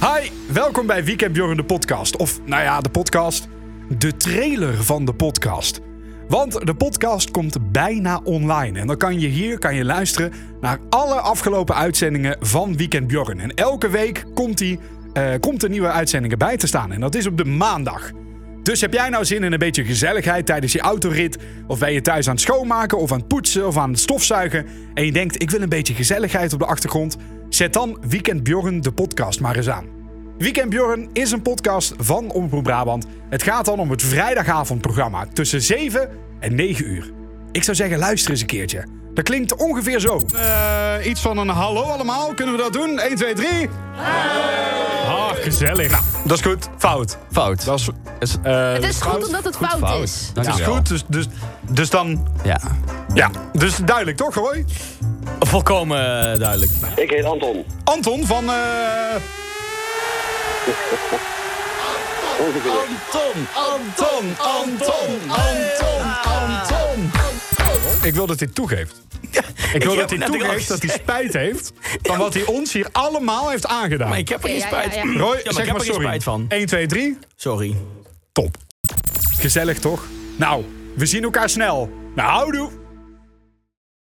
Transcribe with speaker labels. Speaker 1: Hi, welkom bij Weekend Bjorn de podcast. Of nou ja, de podcast. De trailer van de podcast. Want de podcast komt bijna online. En dan kan je hier kan je luisteren naar alle afgelopen uitzendingen van Weekend Bjorn. En elke week komt, die, eh, komt er nieuwe uitzendingen bij te staan. En dat is op de maandag. Dus heb jij nou zin in een beetje gezelligheid tijdens je autorit? Of ben je thuis aan het schoonmaken of aan het poetsen of aan het stofzuigen? En je denkt, ik wil een beetje gezelligheid op de achtergrond? Zet dan Weekend Bjorn de podcast maar eens aan. Weekend Bjorn is een podcast van Omroep Brabant. Het gaat dan om het vrijdagavondprogramma tussen 7 en 9 uur. Ik zou zeggen, luister eens een keertje. Dat klinkt ongeveer zo. Eh, iets van een hallo allemaal. Kunnen we dat doen? 1, 2, 3.
Speaker 2: Ah, gezellig.
Speaker 1: Nou, Dat is goed. Fout.
Speaker 3: Fout.
Speaker 1: Dat is,
Speaker 3: is,
Speaker 2: Eh,
Speaker 4: Het is goed omdat het fout,
Speaker 3: fout.
Speaker 4: is.
Speaker 3: Dank
Speaker 1: dat
Speaker 3: je
Speaker 1: is
Speaker 3: wel.
Speaker 1: goed. Dus, dus, dus dan
Speaker 3: Ja.
Speaker 1: Ja, dus duidelijk toch, hoor?
Speaker 3: Volkomen eh, duidelijk.
Speaker 5: Ik heet Anton.
Speaker 1: Anton van. eh,
Speaker 5: Ongeveer.
Speaker 3: Anton, Anton, Anton, Anton, Anton.
Speaker 1: Ik wil dat hij toegeeft. Ik wil
Speaker 3: heb-
Speaker 1: dat hij
Speaker 3: dat ik
Speaker 1: toegeeft
Speaker 3: ook-
Speaker 1: dat hij spijt heeft van wat hij ons hier allemaal heeft aangedaan.
Speaker 3: Maar ik heb er geen
Speaker 4: Ja, ja,
Speaker 3: spijt.
Speaker 4: ja, ja.
Speaker 1: Roy,
Speaker 3: maar ik
Speaker 1: zeg maar
Speaker 3: heb er geen
Speaker 1: sorry.
Speaker 3: spijt van.
Speaker 1: 1, 2, 3.
Speaker 3: Sorry.
Speaker 1: Top. Gezellig toch? Nou, we zien elkaar snel. Nou, houdoe.